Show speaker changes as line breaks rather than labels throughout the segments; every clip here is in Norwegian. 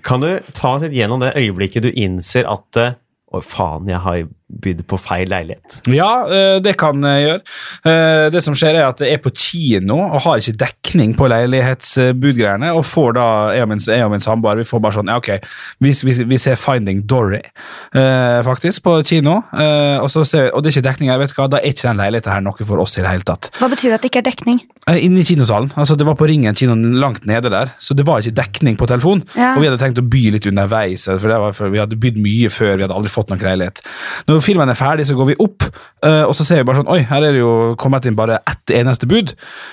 Kan du ta oss litt gjennom det øyeblikket du innser at eh, å, faen, jeg har bydd på feil leilighet.
Ja, eh, det kan jeg gjøre. Eh, Det som skjer, er at jeg er på kino og har ikke dekning på leilighetsbudgreiene. Og får da, jeg og min, jeg og min samboer vi får bare sånn Ja, ok, vi, vi, vi ser Finding Dory, eh, faktisk, på kino. Eh, og, så ser, og det er ikke dekning her, vet du hva. Da er ikke den leiligheten her noe for oss i det hele tatt.
Hva betyr det at det ikke er dekning?
Eh, Inne i kinosalen. altså Det var på Ringen kino langt nede der, så det var ikke dekning på telefon.
Ja.
eh, Og vi hadde tenkt å by litt underveis, for, det var, for vi hadde bydd mye før. Vi hadde aldri fått noen leilighet. Når når filmen er ferdig, så går vi opp, eh, og så ser vi bare sånn Oi, her er det jo kommet inn bare ett eneste bud.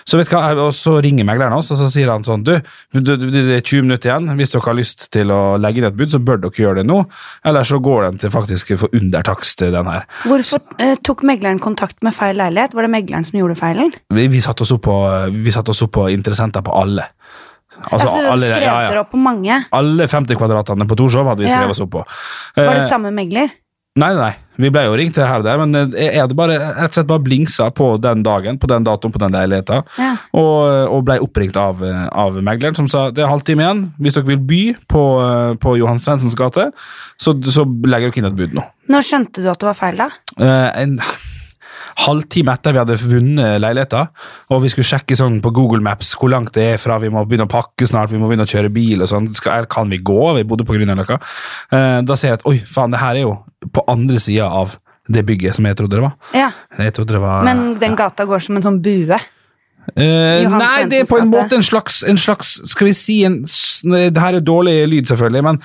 Så vet du hva, og så ringer megleren oss, og så sier han sånn Du, du, du det er 20 minutter igjen. Hvis dere har lyst til å legge inn et bud, så bør dere gjøre det nå. Eller så går den til faktisk for undertakst, den her.
Hvorfor eh, tok megleren kontakt med feil leilighet? Var det megleren som gjorde feilen?
Vi, vi satte oss opp på, vi satte oss opp på interessenter på alle. Altså,
altså,
alle,
skrev
ja,
dere
ja.
opp på mange?
alle 50 kvadratene på Torshov hadde vi
Ja.
skrevet oss opp på.
Var
Eh,
det samme megler?
Nei, nei, nei. Vi ble jo ringt til her og der, men eh, jeg hadde bare, rett og slett bare blingsa på den dagen, på den datoen, på den leiligheta,
Ja.
og, og ble oppringt av, eh, av megleren, som sa det er halvtime igjen. Hvis dere vil by på, eh, på Johan Svendsens gate, så, så legger dere inn et bud nå.
Når skjønte du at det var feil, da?
Eh, en halvtime etter vi hadde vunnet leiligheta, og vi skulle sjekke sånn på Google Maps hvor langt det er fra vi må begynne å pakke snart, vi må begynne å kjøre bil og sånn, Skal- er- kan vi gå? Vi bodde på Grünerløkka. Eh, Da ser jeg at oi, faen, det her er jo på andre sida av det bygget som jeg trodde det var.
Ja.
Jeg trodde det var
Men den gata går som en sånn bue.
Eh,
Johan
nei, det er på en
Svendsens gate.
måte en slags, en slags Skal vi si en s- Det her er dårlig lyd, selvfølgelig, men,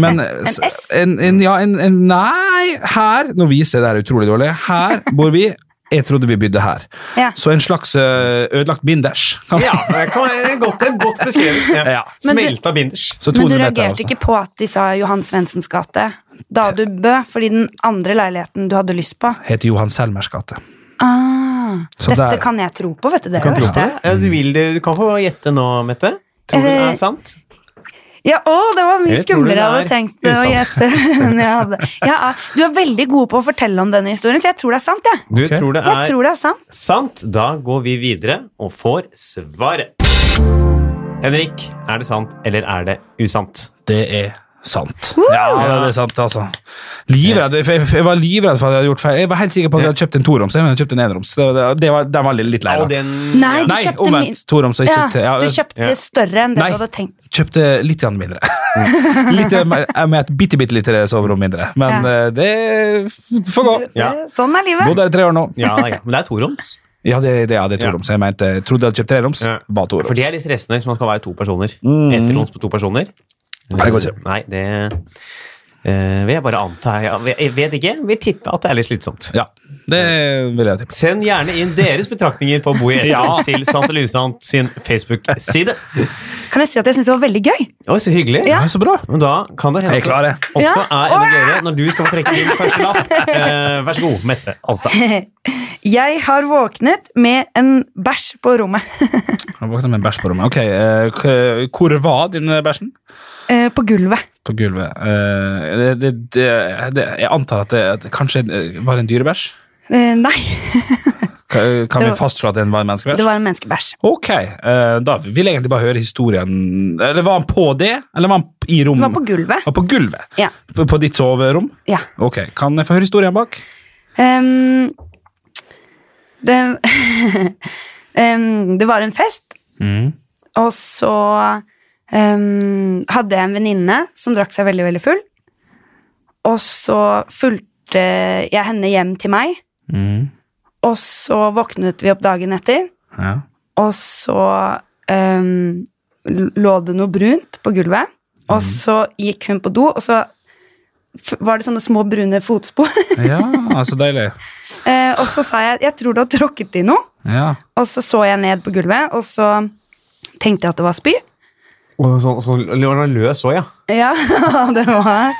men s-
S?
En, en, ja, en, en Nei, her Nå viser jeg det her utrolig dårlig. Her bor vi. Jeg trodde vi bydde her.
Ja.
Så en slags eh, ødelagt binders. kan vi-
Ja, det er godt, det er godt beskrevet.
Ja.
Men du-
Smelta binders.
Så
Men du
200 meter altså.
reagerte
avstand.
ikke på at de sa Johan Svendsens gate da du bø, fordi den andre leiligheten du hadde lyst på
Heter Johan Selmers gate.
ah,
Så
Dette
der-
kan jeg tro på, vet du. Det
Du kan,
er det
tro på
verste.
det. Ja, du, vil, det- du kan få gjette nå, Mette. Tror du det
Eh,
er sant?
Ja, å, det var mye
Jeg tror den
skumlere jeg
er
hadde tenkt å
usann.
gjette. enn jeg hadde. Ja, du er veldig god på å fortelle om denne historien, så jeg tror det er sant. Jeg,
Du
ok.
tror det
jeg
er
tror det er sant.
sant? Da går vi videre og får svaret. Henrik, er det sant eller er det usant?
Det er sant. Eh. Ja, det er sant, altså. Livredd, for jeg, jeg var livredd for at jeg hadde gjort feil. Jeg var helt sikker på at jeg hadde kjøpt en toroms, men jeg hadde kjøpt en eneroms. Det, det, det var, den var litt- litt lei
Og
da.
den,
Nei, du
Nei,
kjøpte, min-
omvendt. Toroms og ikke til-
ja,
ja,
du
jeg-
ja.
kjøpte større enn det
Nei.
du hadde tenkt.
Kjøpte litt grann mindre. litt, eh, med et bitte, bitte lite soverom mindre. Men
Ja.
eh, det f- får gå.
Ja.
Sånn er livet.
Bodd her i tre år nå.
ja, ja, men det er toroms.
Ja, det, det, ja, det er
Ja.
toroms. Jeg mente, jeg trodde jeg hadde kjøpt treroms.
Ja.
Var toroms.
For det er litt stressende hvis man skal være to personer.
Mm.
Etterroms på to personer.
Nei, det går ikke.
Nei, det eh, vil jeg bare anta. Jeg jeg vet ikke, vil tippe at det er litt slitsomt.
Ja, det vil jeg tippe.
Send gjerne inn deres betraktninger på Bo i etterroms til Sant eller usant sin Facebook-side.
Kan jeg si at jeg syns det var veldig gøy?
Oi, så hyggelig.
Ja.
Så bra.
Men da kan det hende
Jeg er klar, jeg.
at det også
Ja.
er enda gøyere når du skal trekke din første lapp. Eh, vær så god, Mette Alstad.
Jeg har våknet med en bæsj på rommet.
Jeg våkna med en bæsj på rommet. Ok, eh, k- Hvor var din bæsjen?
Eh, på gulvet.
På gulvet. Eh, det, det, det, det, jeg antar at det at det kanskje eh, var en dyrebæsj?
Eh, nei,
Kan, kan
Det
vi
var-
fastslå at det var en menneskebæsj?
det var en menneskebæsj.
Ok, eh, da vil jeg egentlig bare høre historien Eller var han på det, eller var han i
Det
rommet?
var på gulvet.
Var på gulvet?
Ja.
På, på ditt soverom?
ja.
Ok, kan jeg få høre historien bak?
Ehm, det, Ehm, det var en fest,
Mm,
og så ehm, hadde jeg en venninne som drakk seg veldig, veldig full. Og så fulgte jeg henne hjem til meg,
mm,
og så våknet vi opp dagen etter,
Ja.
og så ehm, l- lå det noe brunt på gulvet, og så gikk hun på do, og så f var det sånne små brune fotspor.
ja, så deilig.
Eh, og så sa jeg jeg tror du har tråkket i noe.
Ja.
Og så så jeg ned på gulvet, og så tenkte jeg at det var spy.
Sånn så, løs òg, ja.
Ja, det var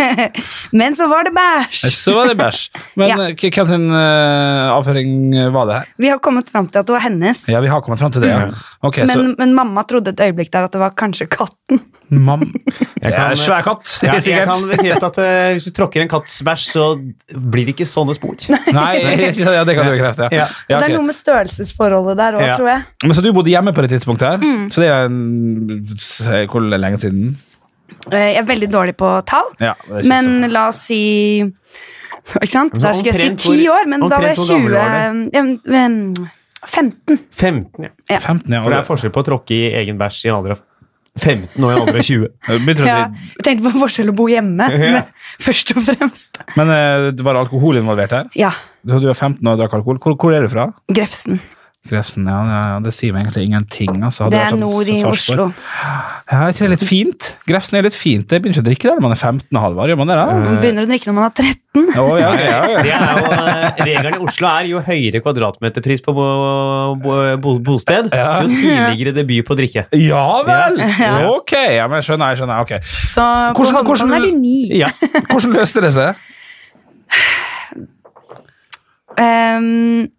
Men så var det bæsj.
Så var det bæsj. Men
Ja.
eh, k- hvem sin eh, avføring eh, var det her?
Vi har kommet fram til at det var hennes.
Ja, vi har kommet fram til det, ja. Ok,
Men, men mamma trodde et øyeblikk der at det var kanskje katten.
så mam...
Jeg
Det
kan-
er en svær katt,
Ja, jeg
sikkert.
kan bekrefte at eh, hvis du tråkker en katts bæsj, så blir det ikke sånne spor.
Nei, ja, det kan du bekrefte.
Ja.
Ja.
Det
Ja,
er
ok.
noe med størrelsesforholdet der òg,
Ja.
tror jeg. Mm.
Men Så du bodde hjemme på det tidspunktet her? Så det er en, se, Hvor lenge siden?
Eh, Jeg er veldig dårlig på tall,
Ja, det er ikke så-
men la oss si Ikke sant?
Men så
Der skulle jeg
omtrent
si ti
hvor-
år, men da
omtrent
var jeg
hvor gammel
20
var
eh, em, em, 15.
15, ja.
15, ja.
For det er forskjell på å tråkke i egen bæsj i en alder av 15 og i en alder av 20.
Begynte du å
Ja,
bli-
jeg tenkte på forskjell å bo hjemme, men først og fremst.
Men eh, det var alkohol involvert her?
Ja,
Så du er 15 år og drakk alkohol. Hvor, hvor er du fra?
Grefsen.
Grefsen, ja, ja, ja, det sier meg egentlig ingenting. Altså. Hadde
Det
vært
er
sånn
nord i
Sarpsborg.
Oslo.
Ja, er ikke det litt fint? Grefsen er litt fint. Det begynner ikke å drikke det når man er 15 og halvår, gjør man det da?
Man begynner å drikke når man er 13.
Å, ja, ja, ja.
Det er jo, eh, regelen i Oslo er jo høyere kvadratmeterpris på bo, bo, bo, bosted, jo tidligere debut på drikke.
ja vel! Ok, ja, men jeg skjønner, jeg skjønner. ok.
Så på
Hvordan-
Hongkong
hvordan-
er du ni.
Ja.
Hvordan løste det seg?
Ehm,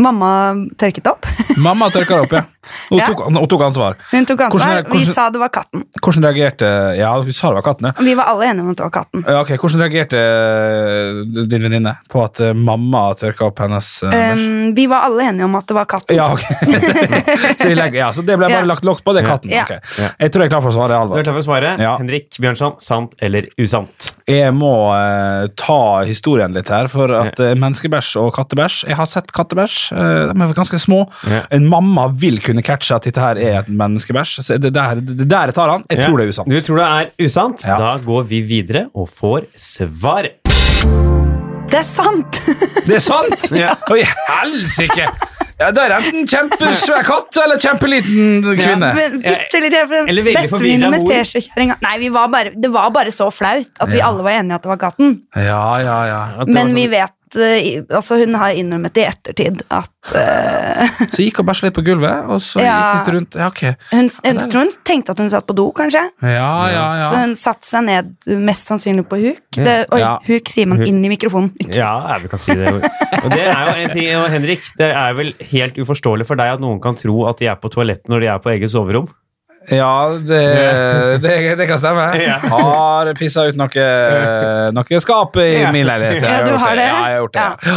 mamma tørket opp.
Mamma tørker opp, ja. Hun
Ja.
tok, hun tok ansvar.
Hun tok ansvar.
Hvordan er- hvordan-
Vi sa det var katten.
Hvordan reagerte Ja, hun sa det var katten, ja.
Vi var alle enige om at det var katten.
Ja, ok, Hvordan reagerte eh, din venninne på at eh, mamma tørka opp hennes eh, bæsj?
Ehm, vi var alle enige om at det var katten.
Ja, ok. så, vi legger, ja, så det ble bare
Ja.
lagt lokk på? Det er katten.
Ja.
ok. Jeg tror jeg er klar for å svare.
Du er
Alvar.
klar for svaret?
Ja.
Henrik Bjørnson, sant eller usant?
Jeg må eh, ta historien litt her, for at eh, menneskebæsj og kattebæsj Jeg har sett kattebæsj. eh, de er ganske små.
Ja.
En mamma vil kunne catche at dette her er et menneskebæsj. Så det der, det der jeg tar han. Jeg tror det er usant.
Du tror det er usant?
Ja.
Da går vi videre og får svaret.
Det er sant!
Det er sant!
Ja.
Oi, helsike! Ja, det er enten kjempesvær katt eller kjempeliten kvinne.
Men bitte litt for
Eller veldig
Bestevenninne
forvirret
med
mor.
teskjekjerringa Nei, vi var bare, det var bare så flaut at vi alle var enige at det var katten.
Ja, ja, ja.
At det
Men
var
vi
sånn-
vet eh, i- Altså, hun har innrømmet i ettertid at eh,
Så gikk og bæsja litt på gulvet, og så
Ja.
gikk litt rundt. Ja, ok.
eh, hun, jeg tror hun tenkte at hun satt på do, kanskje.
Ja, ja,
Så
ja.
hun satte seg ned, mest sannsynlig på huk. Det, oi,
Ja.
huk sier man
Huk.
inn i mikrofonen. Ikke-
Ja, ja, vi kan si det. Og det er jo en ting, og Henrik, det er vel helt uforståelig for deg at noen kan tro at de er på toalettet når de er på eget soverom.
Ja, det, det, det kan stemme.
Ja.
Har pissa ut noe, noe skap i
Ja.
min leilighet. Jeg
Ja, du
gjort
har det?
Ja, jeg har gjort det. Ja.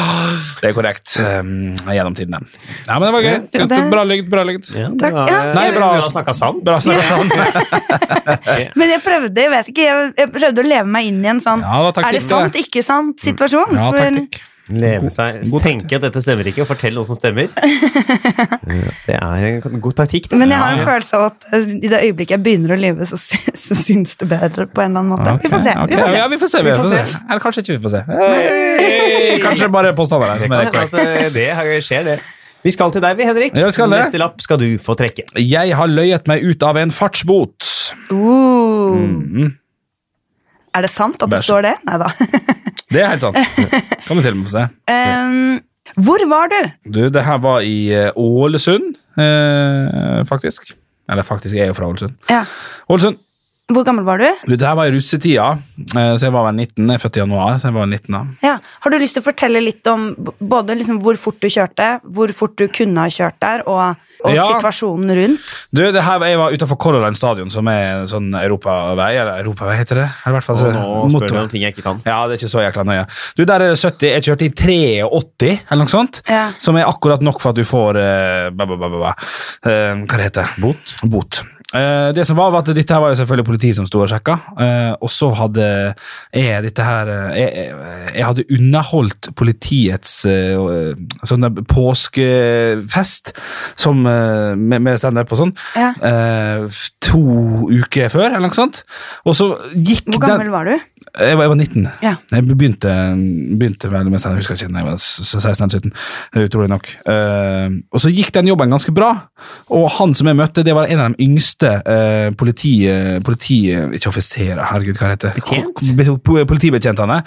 Det er korrekt. Um, gjennom tidene. Ja, men det var gøy.
Ja, det-
Bra lygd, bra lygd.
Ja, det
Takk,
var-
ja.
Nei, bra.
Bra snakka sant.
Bra snakka sant.
Men jeg prøvde jeg vet ikke, jeg, jeg prøvde å leve meg inn i en sånn
Ja, det var taktikk,
Er det sant, ikke sant situasjon?
Ja,
For-
taktikk.
Leve seg,
god taktikk.
tenke at dette stemmer ikke, og fortell noe som stemmer. Det er en god taktikk. det.
Men jeg har en følelse av at eh, i det øyeblikket jeg begynner å lyve, så, sy så syns det bedre på en eller annen måte.
Ok,
Vi får se.
ok.
Vi får se.
Ja, vi får se. Vi
Vi
får
får
se. Eller kanskje ikke vi får se. Hey! Kanskje bare påstander her.
Det,
Som er
kan,
korrekt.
hende at altså, det skjer, det. Vi skal til deg, vi, Henrik.
Ja, vi skal det.
Neste lapp skal du få trekke.
Jeg har løyet meg ut av en fartsbot.
Uh.
Mm.
Er det sant at det
Bæsj.
står det? Nei da.
Det er helt sant. Kan vi til og med få se.
Um, hvor var du?
Du, det her var i eh, Ålesund, eh, faktisk. Eller faktisk, jeg er jo fra Ålesund.
Ja.
Ålesund.
Hvor gammel var du?
Du, det her var i russetida, eh, så jeg var vel 19. Jeg er født i januar, så jeg var 19 da.
Ja. Har du lyst til å fortelle litt om b- både liksom hvor fort du kjørte, hvor fort du kunne ha kjørt der, og, og
Ja.
situasjonen rundt?
Du, det her, var- jeg var utenfor Color Line Stadion, som er en sånn europavei, eller europavei heter det? Eller i hvert fall
Og
eh, så-
nå spør du
motorvei.
om ting jeg ikke kan.
Ja, det er ikke så jækla nøye. Du, der er det 70. Jeg kjørte i 83, eller noe sånt.
Ja.
Som er akkurat nok for at du får eh, ba, ba, ba, ba, ba. Eh, Hva det heter Bot. Bot. Eh, det som var, var at dette her var jo selvfølgelig politiet som sto og sjekka. eh, og så hadde jeg dette her eh, Jeg, jeg, jeg hadde underholdt politiets eh, sånne påskefest som, eh, med, med standup og sånn
Ja.
eh, f- to uker før, eller noe sånt. Og så gikk
Hvor
den
gammel var du?
jeg var, jeg var 19.
Ja.
Jeg begynte, begynte vel med Jeg husker ikke når jeg var s- s- 16 eller 17. eh, Utrolig nok. Eh, og så gikk den jobben ganske bra. Og han som jeg møtte, det var en av de yngste eh, politi... politi ikke offiserer, herregud, hva heter det?
Betjent?
Ko- be- po- Politibetjentene.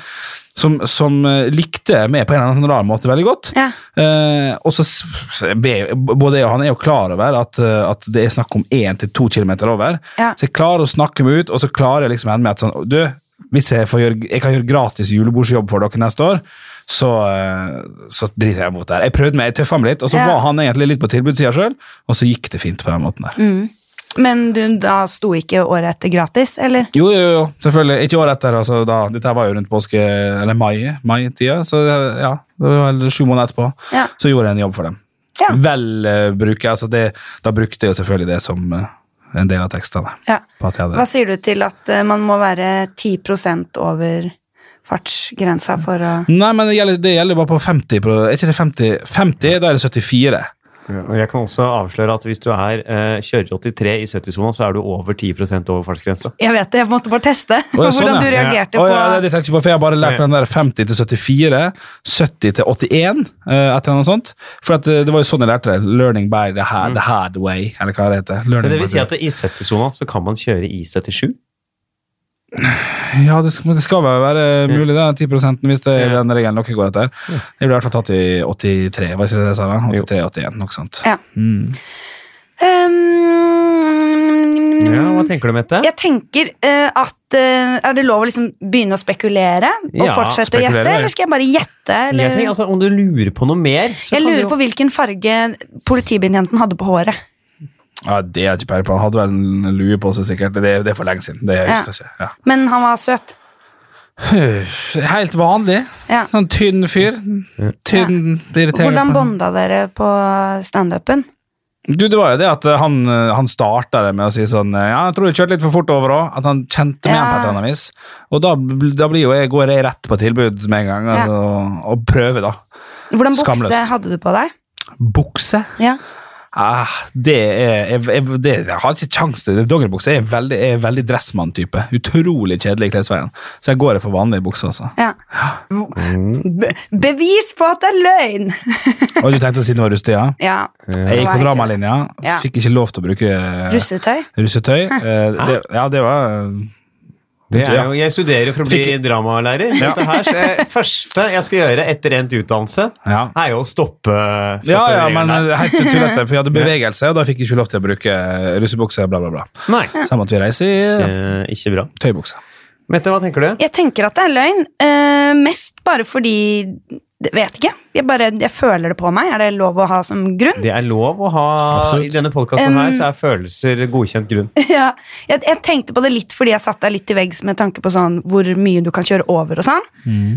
Som, som eh, likte meg på en eller annen rar måte veldig godt.
Ja.
Eh, og så s- s- be- Både jeg og han er jo klar over at, eh, at det er snakk om 1-2 km over.
Ja.
Så jeg klarer å snakke meg ut, og så klarer jeg liksom å ende med at sånn, du, hvis jeg, får gjøre, jeg kan gjøre gratis julebordsjobb for dere neste år, så, eh, så driter jeg mot det her. Jeg prøvde meg, jeg tøffa meg litt, og så
Ja.
var han egentlig litt på tilbudssida sjøl, og så gikk det fint på den måten der.
Mm. Men du da sto ikke året etter gratis, eller?
Jo, jo, jo, selvfølgelig. Ikke året etter, altså da. Dette her var jo rundt påske, eller mai, mai-tida, så eh, ja, det var vel sju måneder etterpå.
Ja.
Så gjorde jeg en jobb for dem.
Ja.
Vel eh, bruker, altså det, da brukte jeg jo selvfølgelig det som eh, en del av tekstene.
Ja.
På at jeg hadde
Hva sier du til at eh, man må være 10 over fartsgrensa for å
Nei, men det gjelder, det gjelder bare på 50 pro- Er ikke det 50? 50, da er det 74.
Ja, og Jeg kan også avsløre at hvis du er, eh, kjører 83 i 70-sona, så er du over 10 over fartsgrensa.
Jeg vet det, jeg måtte bare teste
ja, sånn,
hvordan
ja.
du reagerte
Å,
på
ja, det, det tenkte jeg på, for jeg har bare lært den der 50 til 74, 70 til 81, eh, et eller annet sånt. For at, eh, det var jo sånn jeg lærte det. Learning by the hard, the hard way, eller hva det heter.
Mm. Så
Learning
det
by
vil si
the-
at i 70-sona så kan man kjøre i 77.
Ja, det skal, men det skal vel være mulig, det. 10 hvis det er
Ja.
den regelen dere går etter. Jeg ble i hvert fall tatt i 83, var ikke det det jeg sa? da? 83-81, noe sånt.
Ja.
Mm.
Ehm,
Ja, hva tenker du, Mette?
Jeg tenker eh, at eh, Er det lov å liksom begynne å spekulere? Og
Ja,
fortsette å
spekulere,
gjette?
ja.
Eller skal jeg bare gjette?
Jeg
Eller?
tenker, altså, om du lurer på noe mer så kan
jeg
du
lurer
jo-
på hvilken farge politibetjenten hadde på håret.
Ja, det har jeg ikke peiling på. Han hadde vel en lue på seg, sikkert. Det, det er for lenge siden. Det jeg husker jeg ikke. Ja.
Men han var søt.
Helt vanlig.
Ja.
Sånn tynn fyr. Tynn, irriterende.
Hvordan bonda dere på standupen?
Du, det var jo det at eh, han, eh, han starta det med å si sånn eh, Ja, jeg tror jeg kjørte litt for fort over òg. At han kjente meg igjen på et
Ja.
eller annet vis. Og da, bl- da blir jo jeg, går jeg rett på tilbud med en gang,
Ja.
altså, og prøver, da.
Hvordan bukse
Skamløst.
hadde du på deg?
Bukse?
Ja.
Ah, det er jeg, jeg, det, jeg har ikke kjangs til det. Dongeribukse er veldig, jeg er veldig dressmann-type. Utrolig kjedelig i klesveien. Så jeg går for vanlige bukser, altså.
ja. Be bevis på at det er løgn!
Og du tenkte siden det var rustia?
Ja.
Jeg gikk på dramalinja,
Ja.
fikk ikke lov til å bruke eh,
Russetøy?
russetøy. Eh, Det, ja, det var eh,
Det er
Ja.
jo, jeg studerer for å bli
Fikk-
dramalærer. Dette her, så jeg, første jeg skal gjøre etter endt utdannelse,
Ja.
er jo å stoppe, stoppe
Ja, ja,
reglene
men
der.
det er helt tullete, for jeg hadde bevegelse, og da fikk jeg ikke lov til å bruke russebukse, bla, bla, bla.
Nei,
Så jeg måtte vi reise i eh,
ikke, ikke bra.
tøybukse.
Mette, hva tenker du?
Jeg tenker at det er løgn. eh, mest bare fordi det- Vet ikke. Jeg, bare, jeg føler det på meg. Er det lov å ha som grunn?
Det er lov å ha
Absolutt.
I denne podkasten her
Um,
så er følelser godkjent grunn.
Ja. Jeg, jeg tenkte på det litt fordi jeg satt deg litt til veggs med tanke på sånn, hvor mye du kan kjøre over. og sånn.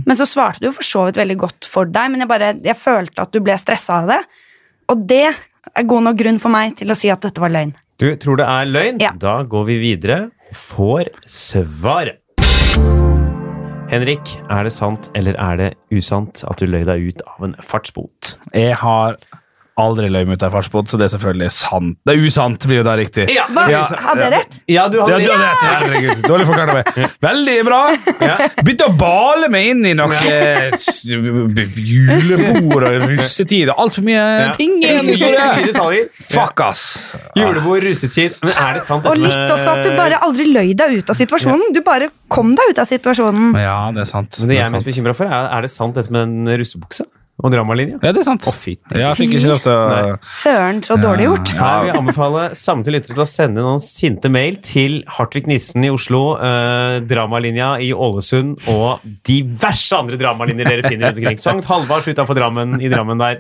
Men så svarte du for så vidt veldig godt for deg, men jeg, bare, jeg følte at du ble stressa av det. Og det er god nok grunn for meg til å si at dette var løgn.
Du tror det er løgn?
Ja.
Da går vi videre og får svaret. Henrik, er det sant eller er det usant at du løy deg ut av en fartsbot?
Jeg har aldri løy meg ut av fartsbod, så det er selvfølgelig sant. Det er usant, blir jo da riktig.
Ja,
Hva?
Ja,
Hadde jeg rett?
Ja, du
Ja,
hadde
du har rett, herregud. Dårlig forklart av meg. Veldig bra.
Ja.
Begynte å bale meg inn i noe eh, s- julebord og russetid og altfor mye
Ja.
ting i en
Mye
historie.
detaljer.
Fuck, ass.
Julebord, russetid Men er det sant?
Og
dette
litt
med-
også at du bare aldri løy deg ut av situasjonen. Du bare kom deg ut av situasjonen.
Ja, det er sant.
Men det jeg
er
er mest
sant.
bekymra for, er, er det sant dette med en russebukse og dramalinja?
Ja, det er sant.
Å, fy.
Ja, jeg fikk ikke lov til å
Søren, så dårlig gjort.
Her vil jeg anbefale samtlige lyttere til å sende noen sinte mail til Hartvig Nissen i Oslo, eh, Dramalinja i Ålesund og diverse andre dramalinjer dere finner rundt omkring. Sankt Halvards utenfor Drammen i Drammen der.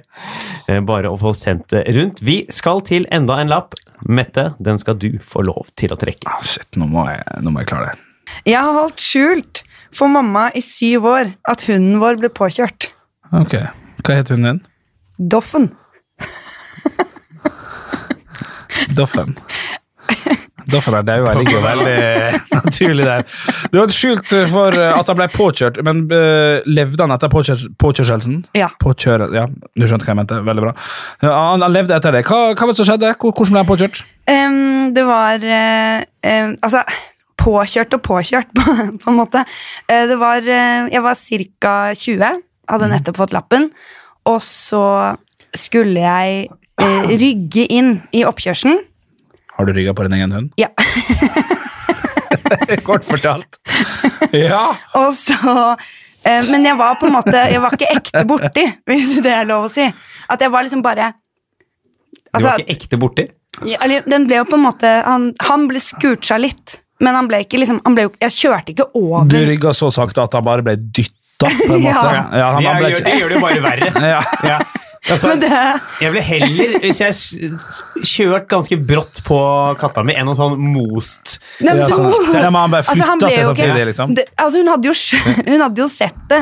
Eh, bare å få sendt det rundt. Vi skal til enda en lapp. Mette, den skal du få lov til å trekke.
Ah, Shit, nå må, jeg, nå må jeg klare det.
Jeg har holdt skjult for mamma i syv år at hunden vår ble påkjørt.
Ok, Hva heter hunden din?
Doffen.
Doffen. Doffen er daud. Jeg ligger jo veldig naturlig der. Du hadde skjult eh, for at han ble påkjørt, men eh, levde han etter påkjør, påkjørelsen?
Ja.
Påkjøre, ja, Du skjønte hva jeg mente. Veldig bra. Ja, han, han levde etter det. Hva, hva var det som skjedde? Hvor- Hvordan ble han påkjørt?
Em, det var eh, em, Altså, påkjørt og påkjørt, på, på en måte. Eh, det var eh, Jeg var ca. 20,
Mhm.
hadde nettopp fått lappen. Og så skulle jeg eh, rygge inn i oppkjørselen.
Har du rygga på din egen hund?
Ja.
Kort fortalt. Ja!
Og så eh, Men jeg var på en måte Jeg var ikke ekte borti, hvis det er lov å si. At jeg var liksom bare
Du
Altså,
var ikke ekte borti?
Ja, eller, den ble jo på en måte Han, han ble skurt seg litt. Men han ble ikke liksom han ble jo, Jeg kjørte ikke
Du
over.
rygga så sakte at han bare ble dytta, på en måte.
Ja.
Ja, han, han ble
Det gjør- det
ikke...
gjør det jo bare verre.
Ja.
Ja. Altså,
Men det,
Jeg ville heller, hvis jeg s- kjørt ganske brått på katta mi, enn noe sånn most
Nei,
Ja, sånn,
så-
sant. Ja, men han bare
Altså, han ble
flytta seg
jo ikke-
samtidig, liksom.
det, altså, hun, hadde jo, skj- hun hadde jo sett det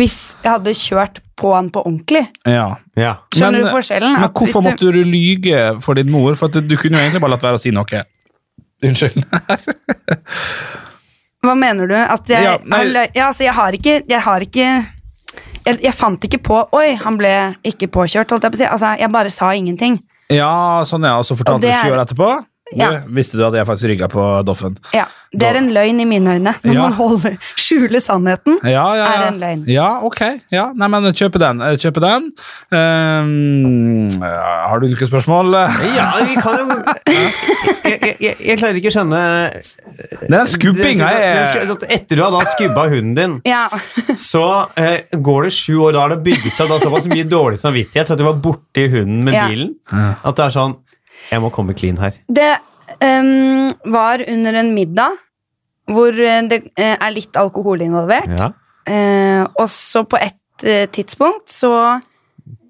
hvis jeg hadde kjørt på han på ordentlig.
Ja.
Ja.
Skjønner du forskjellen?
Men
At hvis
hvorfor
du-
måtte du lyge for din mor? For at du kunne jo egentlig bare latt være å si noe. Unnskyld.
Hva mener du? At jeg, ja,
Ja, nei-
ja, altså, jeg har ikke Jeg har ikke jeg, jeg fant ikke på Oi, han ble ikke påkjørt, holdt jeg på å si. Altså, jeg bare sa ingenting.
Ja, sånn ja, og så
Og
fortalte
det
du sju
er-
år etterpå. Du,
Ja.
Visste du at jeg faktisk rygga på Doffen?
Ja, Det er
Da-
en løgn i mine øyne. Når
Ja.
man holder, skjuler sannheten.
Ja, ja, ja.
Er en løgn.
Ja, ok. Ja, nei, men kjøpe den. eh, Kjøpe den. Ehm, ja, har du ulike spørsmål?
Ja, vi kan jo Jeg, jeg, jeg, jeg klarer ikke å skjønne
Den skubbinga er
Etter du har da skubba hunden din,
Ja.
så eh, går det sju år. Da har det bygget seg da såpass mye dårlig samvittighet for at du var borti hunden med
Ja.
bilen. At det er sånn Jeg må komme clean her.
Det ehm, var under en middag hvor eh, det eh, er litt alkohol involvert.
Ja.
Eh, og så på et eh, tidspunkt så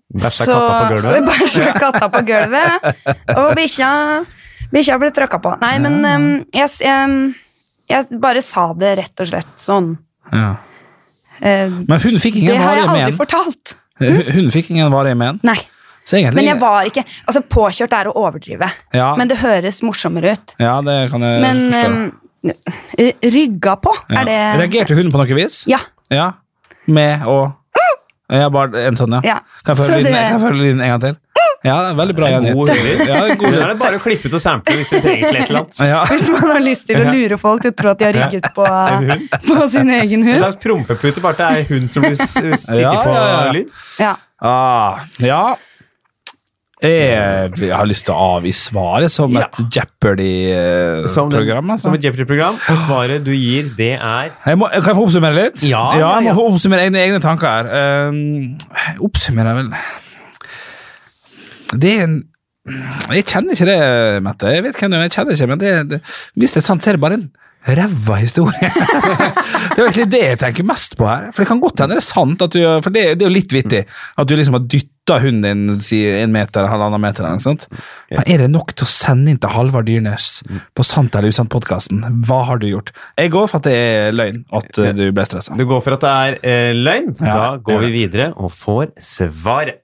Bæsja katta på gulvet.
Bæsja katta på gulvet. Og bikkja Bikkja ble tråkka på. Nei, men ehm, jeg, s- ehm, jeg bare sa det rett og slett sånn.
ja.
Eh,
Men hun fikk
det
ingen
har jeg
varige
aldri
men.
fortalt.
Hun hun fikk ingen varige men.
Nei.
Så egentlig
Men jeg var ikke Altså, påkjørt er å overdrive.
ja,
Men det høres morsommere ut.
ja, det kan jeg
Men
forstå.
ehm, rygga på,
Ja.
er det
Reagerte hun på noe vis?
Ja.
Ja. Med og Ja, bare en sånn, ja.
Ja.
Kan jeg
Så
følge lyden,
det-
kan jeg følge lyden en gang til? Ja, det er veldig bra.
En
Janit.
god lyd.
Ja, en god
Nå
lyd.
er det bare å klippe ut og sample hvis du trenger til et eller annet.
Ja.
Hvis man har lyst til å lure folk til å tro at de har rygget på, på sin egen
En
hund.
slags prompepute, bare at det er hun som blir s- sikker
Ja,
på
ja, ja.
lyd.
Ja.
Ah, ja. Jeg, jeg har lyst til å avgi svaret som
Ja.
et
Som,
Jeopardy-program.
den,
Altså.
som et Jeopardy-program. Og svaret du gir, det er
Jeg må, kan jeg få oppsummere litt?
Ja,
jeg
ja,
må
ja.
få oppsummere egne, egne tanker her. Um, oppsummerer vel Det er en Jeg kjenner ikke det, Mette. Jeg vet hvem du er, jeg kjenner ikke, men det, det, hvis det er sant, så er det bare en ræva historie. det er egentlig det jeg tenker mest på her. For det kan godt hende det er sant, at du, for det, det er jo litt vittig at du liksom har dytta hunden din si, en meter, halvannen meter eller noe sånt. Men er det nok til å sende inn til Halvard Dyrnes på Sant eller usant-podkasten? Hva har du gjort? Jeg går for at det er løgn at uh, du ble stressa.
Du går for at det er eh, løgn.
Ja,
da går
ja.
vi videre og får svaret.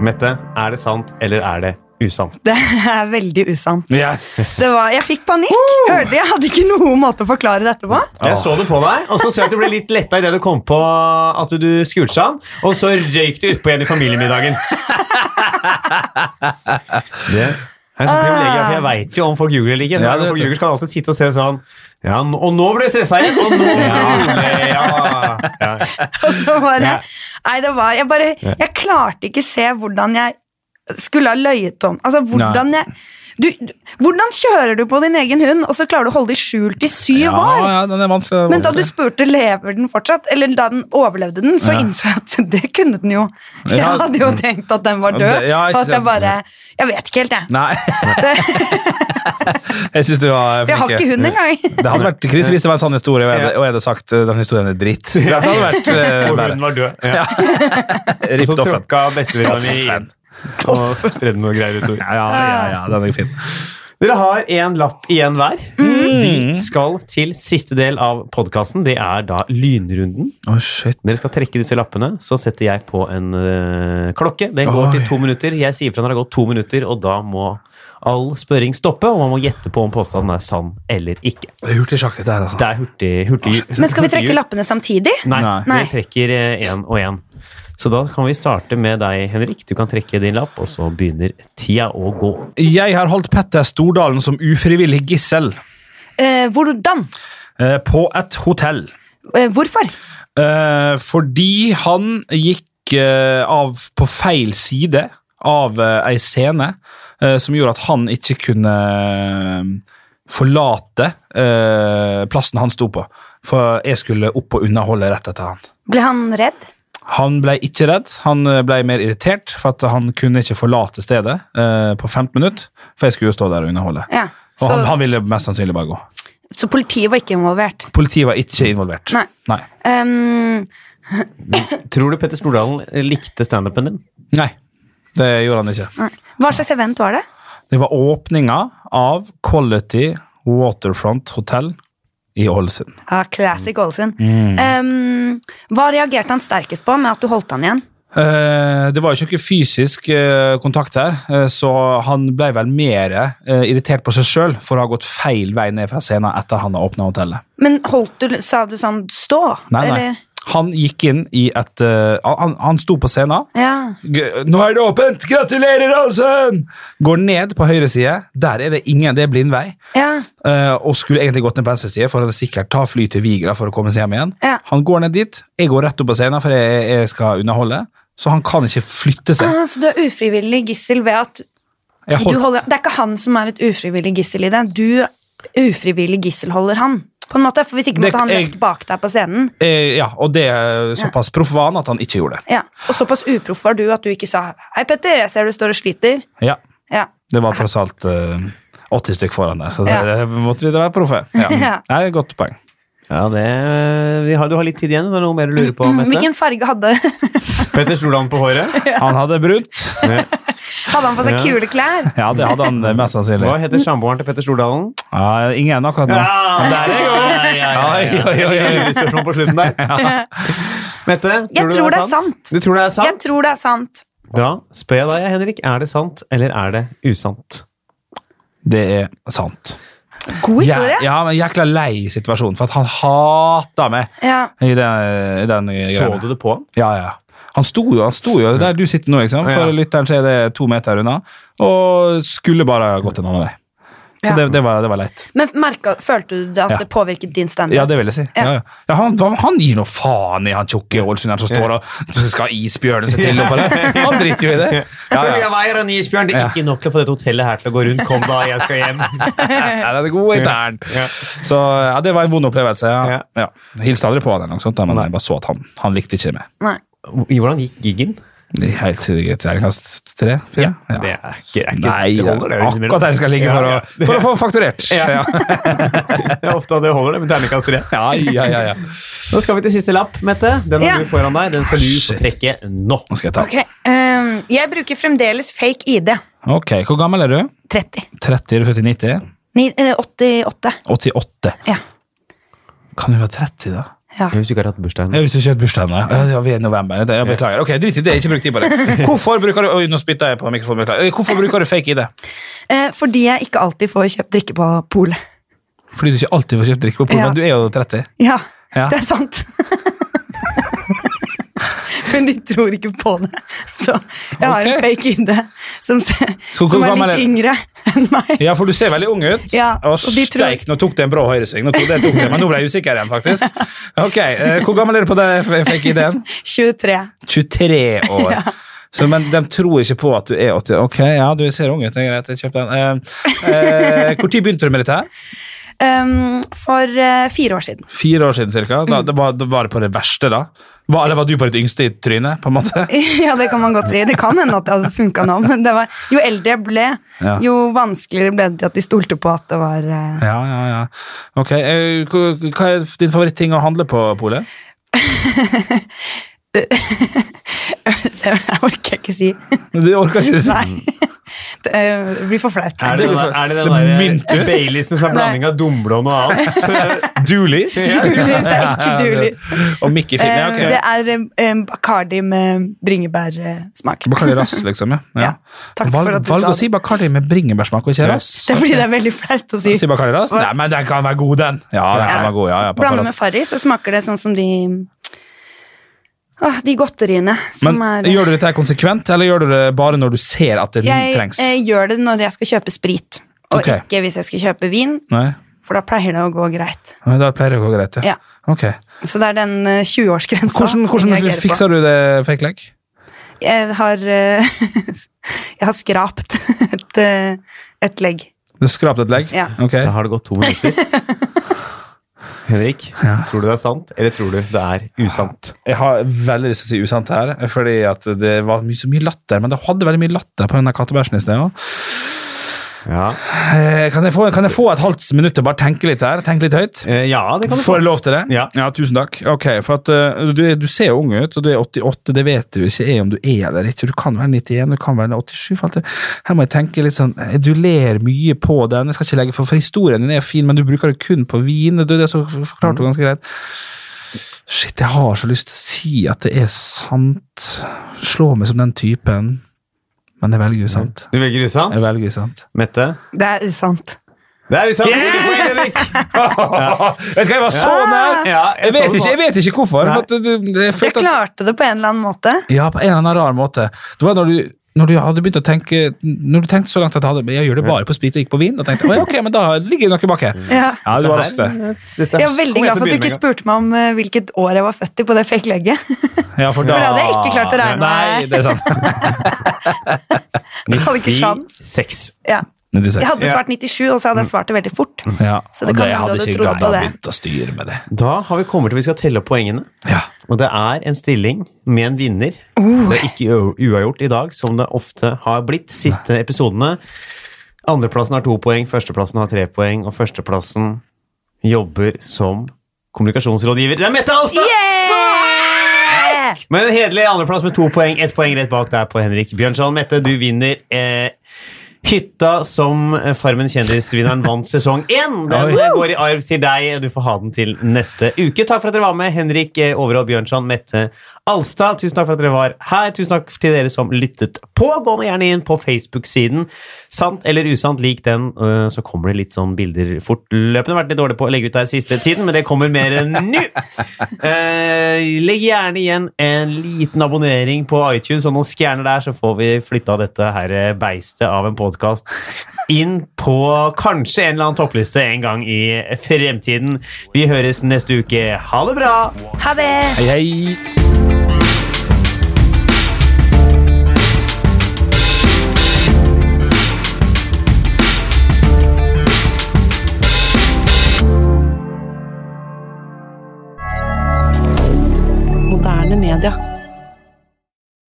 Mette, er det sant eller er det usant?
Det er veldig usant.
Yes!
Det var, jeg fikk panikk. Hørte Jeg hadde ikke noen måte å forklare dette på.
Jeg så det på deg, og så så jeg at du ble litt letta idet du kom på at du skulte seg an, og så røyk du utpå igjen i familiemiddagen. Det er sånn privilegium, for jeg veit jo om folk ljuger eller ikke.
Ja,
Når
det
folk
vet du.
ljuger, skal alltid sitte og se sånn Ja, n- og nå ble du stressa igjen! Og nå ble du rolig, ja. ja.
Og så bare,
Ja.
nei, det var, jeg, bare, jeg klarte ikke se hvordan jeg skulle ha løyet om. Altså, hvordan jeg du, du- Hvordan kjører du på din egen hund, og så klarer du å holde det i skjult i syv
Ja,
år?
ja, den er vanskelig.
Men da du spurte lever den fortsatt, eller da den overlevde den, så
Ja.
innså jeg at det kunne den jo. Jeg
Ja.
hadde jo tenkt at den var
Ja,
død,
det- ja, ikke
og at jeg
sant.
bare Jeg vet ikke helt, jeg.
Nei. jeg syns du var
For jeg har
flink.
ikke hund engang.
Det hadde vært krise hvis det var en sånn historie, og jeg hadde, og jeg hadde sagt uh, den historien er dritt. Det hadde vært uh,
Og
bare
hunden var død. eh, Ja. Og
ripped
så
off. en.
tråkka bestevenninna mi inn og spredde noe greier utover.
Ja, ja, ja, ja, den er fin.
Dere har én lapp igjen hver.
Mm.
Vi skal til siste del av podkasten. Det er da lynrunden.
Å, shit.
Dere skal trekke disse lappene, så setter jeg på en øh, klokke. Den går
Oi.
til to minutter. Jeg sier fra når det har gått to minutter, og da må all spørring stoppe, og man må gjette på om påstanden er sann eller ikke.
Det er hurtig sjakk, dette her, altså.
Det er hurtig, hurtig, hurtig
Men skal vi trekke lappene samtidig?
Nei,
Nei.
Nei.
vi trekker én og én. Så da kan vi starte med deg, Henrik. Du kan trekke din lapp, og så begynner tida å gå.
Jeg har holdt Petter Stordalen som ufrivillig gissel
Eh, hvordan?
eh, på et hotell.
Eh, hvorfor?
Eh, fordi han gikk eh, av på feil side av eh, ei scene eh, som gjorde at han ikke kunne forlate eh, plassen han sto på. For jeg skulle opp og underholde rett etter han.
Ble han redd?
Han ble ikke redd, han eh, ble mer irritert, for at han kunne ikke forlate stedet eh, på 15 minutter, for jeg skulle jo stå der og underholde.
Ja.
Og
Så,
han, han ville mest sannsynlig bare gå.
så politiet var ikke involvert?
Politiet var ikke involvert.
Nei.
Nei.
Um,
Tror du Petter Stordalen likte standupen din?
Nei. Det gjorde han ikke.
nei. hva slags event var det?
Det var åpninga av Quality Waterfront Hotel i Ålesund.
Ja, Classic Ålesund.
Mm.
Um, hva reagerte han sterkest på med at du holdt han igjen?
Eh, det var jo ikke noe fysisk eh, kontakt her, eh, så han ble vel mer eh, irritert på seg sjøl for å ha gått feil vei ned fra scenen etter han har åpna hotellet.
Men holdt du, sa du sånn 'stå'?
Nei, nei.
Eller?
Han gikk inn i et eh, han, han sto på scenen.
Ja.
G- Nå er det åpent! Gratulerer, Ålesund! Går ned på høyre side. Der er det ingen, det er blindvei.
Ja.
Eh, og skulle egentlig gått ned på venstre side for å sikkert ta fly til Vigra for å komme seg hjem igjen.
Ja.
Han går ned dit. Jeg går rett opp på scenen, for jeg, jeg skal underholde. Så han kan ikke flytte seg.
Ah, så du er ufrivillig gissel ved at
Jeg
Ah, du
holdt,
holder Det er ikke han som er et ufrivillig gissel i det. Du ufrivillig gisselholder han. På en måte, for Hvis ikke
Det-
måtte han
jeg-
løpt bak deg på scenen.
eh, ja, og det er såpass proff var han at han ikke gjorde det.
Ja. Og såpass uproff var du at du ikke sa 'Hei, Petter, jeg ser du står og sliter'.
Ja,
Ja.
Det var tross alt eh, 80 stykk foran der, så det,
Ja.
det måtte vi være proffe. Ja.
Ja.
Nei, godt poeng.
Ja, det, vi har, Du har litt tid igjen. Er det noe mer du lurer på? Mette?
Hvilken farge hadde
Petter Stordalen på håret.
Han hadde brunt.
Hadde han på seg
Ja.
kule klær?
Ja, det hadde han eh, mest sannsynlig.
Hva
Mm.
heter samboeren til Petter Stordalen?
Ja, ingen akkurat nå.
Der er jeg Oi, oi, oi. Spørsmål på slutten der. Mette,
Jeg
du
tror det er sant.
Du tror det er
Jeg
sant?
tror det er sant.
Da spør jeg deg, Henrik. Er det sant, eller er det usant?
Det er sant.
God historie.
Ja, ja, men jækla lei situasjon, for at han hata meg
Ja.
i den, i den
Så
greia.
du det på han?
Ja, ja. Han sto jo han sto jo der du sitter nå, liksom.
Ja.
for lytteren så er det to meter unna. Og skulle bare ha gått en annen vei. Så
Ja.
det, det, var, det var leit.
Men merka, følte du at
Ja.
det påvirket din standup?
Ja, det vil jeg si. Ja. Ja, ja. han, han gir noe faen i han tjukke ålesunderen som står og skal ha isbjørnen seg til oppå der. Han driter jo i det. Ja, ja.
Jeg veier en isbjørn. Det er ikke nok til å få dette hotellet her til å gå rundt. Kom da, jeg skal hjem.
Ja, den er god intern.
Ja.
Så ja, det var en vond opplevelse.
Ja.
Ja. Ja. Hilste aldri på han, eller noe sånt, da, men jeg bare så at han, han likte ikke meg.
Nei.
Hvordan gikk giggen?
Helt sikkert terningkast tre?
Ja,
fire?
det er ikke, er ikke
Nei,
det holder, det er jo innimellom.
akkurat der skal jeg ligge for å,
Ja, ja.
for å få fakturert. Ja,
Det er ofte at det holder, det, men terningkast tre.
ja, ja, ja, ja.
Nå skal vi til siste lapp, Mette. Den har
Ja.
du foran deg. Den skal du få
Shit.
trekke nå.
Nå skal jeg ta.
Ok, ehm, Jeg bruker fremdeles fake ID.
ok, Hvor gammel er du?
30.
30 eller 40, 90?
Ni- eh, 88.
88.
Ja.
Kan du være 30, da?
ja.
Hvis du ikke har hatt bursdag
Ja, hvis du ikke har hatt bursdag ennå. Ja, Ja, vi er i november. Det- Jeg beklager. Ok, Drit i det. Ikke bruk tid på det. Hvorfor bruker du Oi, nå spytta jeg på mikrofonen. beklager. Eh, Hvorfor bruker du fake ID?
Eh, fordi jeg ikke alltid får kjøpt drikke på polet.
Fordi du ikke alltid får kjøpt drikke på polet.
Ja.
men Du er jo 30.
Ja,
Ja.
det er sant. Men de tror ikke på det. Så jeg har en
Ok.
fake ID som, se-
Så hvor
som er
gammel
litt
er-
yngre enn meg.
Ja, for du ser veldig ung ut.
Ja,
og
og de tror-
steik, nå tok det en brå høyresving. Nå tok det, tok det, men nå ble jeg usikker igjen, faktisk. Ok, eh, Hvor gammel er du på den fake ID-en?
23.
23 år. Så, men de tror ikke på at du er 80. Ok, ja, du ser ung ut. Det er greit, jeg kjøper den. Eh, eh, Hvor tid begynte du med dette? her?
Ehm, for eh, fire år siden.
Fire år siden, cirka? Da, det var, det var det på det verste, da? Var, eller var du på ditt yngste i trynet, på en måte?
Ja, det kan man godt si. Det kan hende at det hadde funka nå, men det var, jo eldre jeg ble,
Ja.
jo vanskeligere ble det til at de stolte på at det var eh,
Ja, ja, ja. Ok, eh, hva- Hva er din favoritting å handle på, Pole?
Det orker jeg ikke si.
Du orker ikke å si
Nei. Det eh, blir for flaut.
Er det den, der- er det den
Det
der
mynter.
eh, Baileysen som er blanding av dumble og noe annet?
Doolies.
Ja.
Dulis er ikke Dulis.
Og Mickey-film. Ja,
Eh, Det
ok.
er eh, Bacardi med bringebærsmak.
Bacardi Rass, liksom. Ja.
Ja, takk for
Valg-
at du
valg
sa
å
det.
si Bacardi med bringebærsmak og ikke rass.
Det blir det er veldig flaut å si.
Si Bacardi Rass? Nei, men den kan være god, den. Ja, den kan
Ja.
være god, ja, ja,
Blanda med
Paparazzi.
Farris, så smaker det sånn som de Åh, De godteriene som
men
er eh,
Gjør du dette her konsekvent, eller gjør du det bare når du ser at den
Jeg
trengs?
eh, gjør det når jeg skal kjøpe sprit, og
Ok.
ikke hvis jeg skal kjøpe vin,
Nei,
for da pleier det å gå greit.
Nei, da pleier det å gå greit, ja.
Ja.
Ok.
Så det er den eh, 20-årsgrensa.
Hvordan, hvordan fikser du det fake leg?
Jeg har, eh, jeg har skrapt et, eh, et legg.
Du skrapte et legg?
Ja.
Ok.
Da har det gått to minutter. Henrik, tror du det er sant, eller tror du det er usant?
Jeg har veldig lyst til å si usant her, fordi at det var my- så mye latter. Men det hadde veldig mye latter på den der kattebæsjen i sted også.
Ja,
Eh, Kan jeg, få, kan jeg få et halvt minutt til å bare tenke litt her? Tenke litt høyt?
Eh, ja det kan du få.
Får jeg lov til det?
Ja.
tusen takk. Ok, for at eh, du, du ser jo ung ut, og du er 88, det vet du ikke er om du er eller ikke. Du kan være 91, du kan være 87. for alt det- Her må jeg tenke litt sånn, eh, du ler mye på den, jeg skal ikke legge for, for historien din er fin, men du bruker det kun på vin, det, det er så forklart du ganske greit. Shit, jeg har så lyst til å si at det er sant. Slå meg som den typen, men jeg velger usant.
Du velger
Jeg
usant?
velger usant.
Mette?
Det er usant.
Det er usant!
Yes! Vet du hva, jeg var så nær!
Ja,
Jeg vet ikke, jeg vet ikke hvorfor.
Nei.
for at det- det- Jeg
Jeg
følte at
klarte det på en eller annen måte.
Ja, på en eller annen rar måte. Det var når du når du hadde begynt å tenke Når du tenkte så langt at jeg, hadde, jeg gjør det bare på sprit og ikke på vin, da tenkte jeg «Å ja, ok, men da ligger det noe bak her.
Ja.
Ja, du var rask der.
Jeg er veldig glad for at du ikke spurte meg om eh, hvilket år jeg var født i på det fake legget.
Ja, for da
det hadde jeg ikke klart å regne
Ah, Nei,
med.
det er sant.
spurte.
Hadde ikke sjans. Ja. Jeg
96.
hadde svart 97, og så hadde
Mm.
jeg svart det veldig fort.
Ja,
Så det
og
kan
jeg
hende
hadde
du
ikke
trodde
gadd
på
å
det.
begynt å styre med det.
Da har vi kommet til vi skal telle opp poengene.
Ja.
Og det er en stilling med en vinner.
Uh.
Det er ikke u- uavgjort i dag, som det ofte har blitt. Siste episodene. Andreplassen har to poeng, førsteplassen har tre poeng, og førsteplassen jobber som kommunikasjonsrådgiver. Det er Mette Alstad!
Yeah!
Men en hederlig andreplass med to poeng. Ett poeng rett bak der på Henrik Bjørnson. Mette, du vinner eh, hytta som eh, Farmen kjendisvinneren vant sesong én. Den eh, går i arv til deg, og du får ha den til neste uke. Takk for at dere var med, Henrik eh, Overå Bjørnson, Mette Alstad. Tusen takk for at dere var her. Tusen takk til dere som lyttet på. Gå nå gjerne inn på Facebook-siden. Sant eller usant, lik den. eh, Så kommer det litt sånn bilder fortløpende. Vært litt dårlig på å legge ut der siste tiden, men det kommer mer enn nå. Eh, legg gjerne igjen en liten abonnering på iTunes og noen skjerner der, så får vi flytta dette her eh, beistet av en podkast inn på kanskje en eller annen toppliste en gang i fremtiden. Vi høres neste uke. Ha det bra!
Ha det!
Hei, hei.
Moderne media.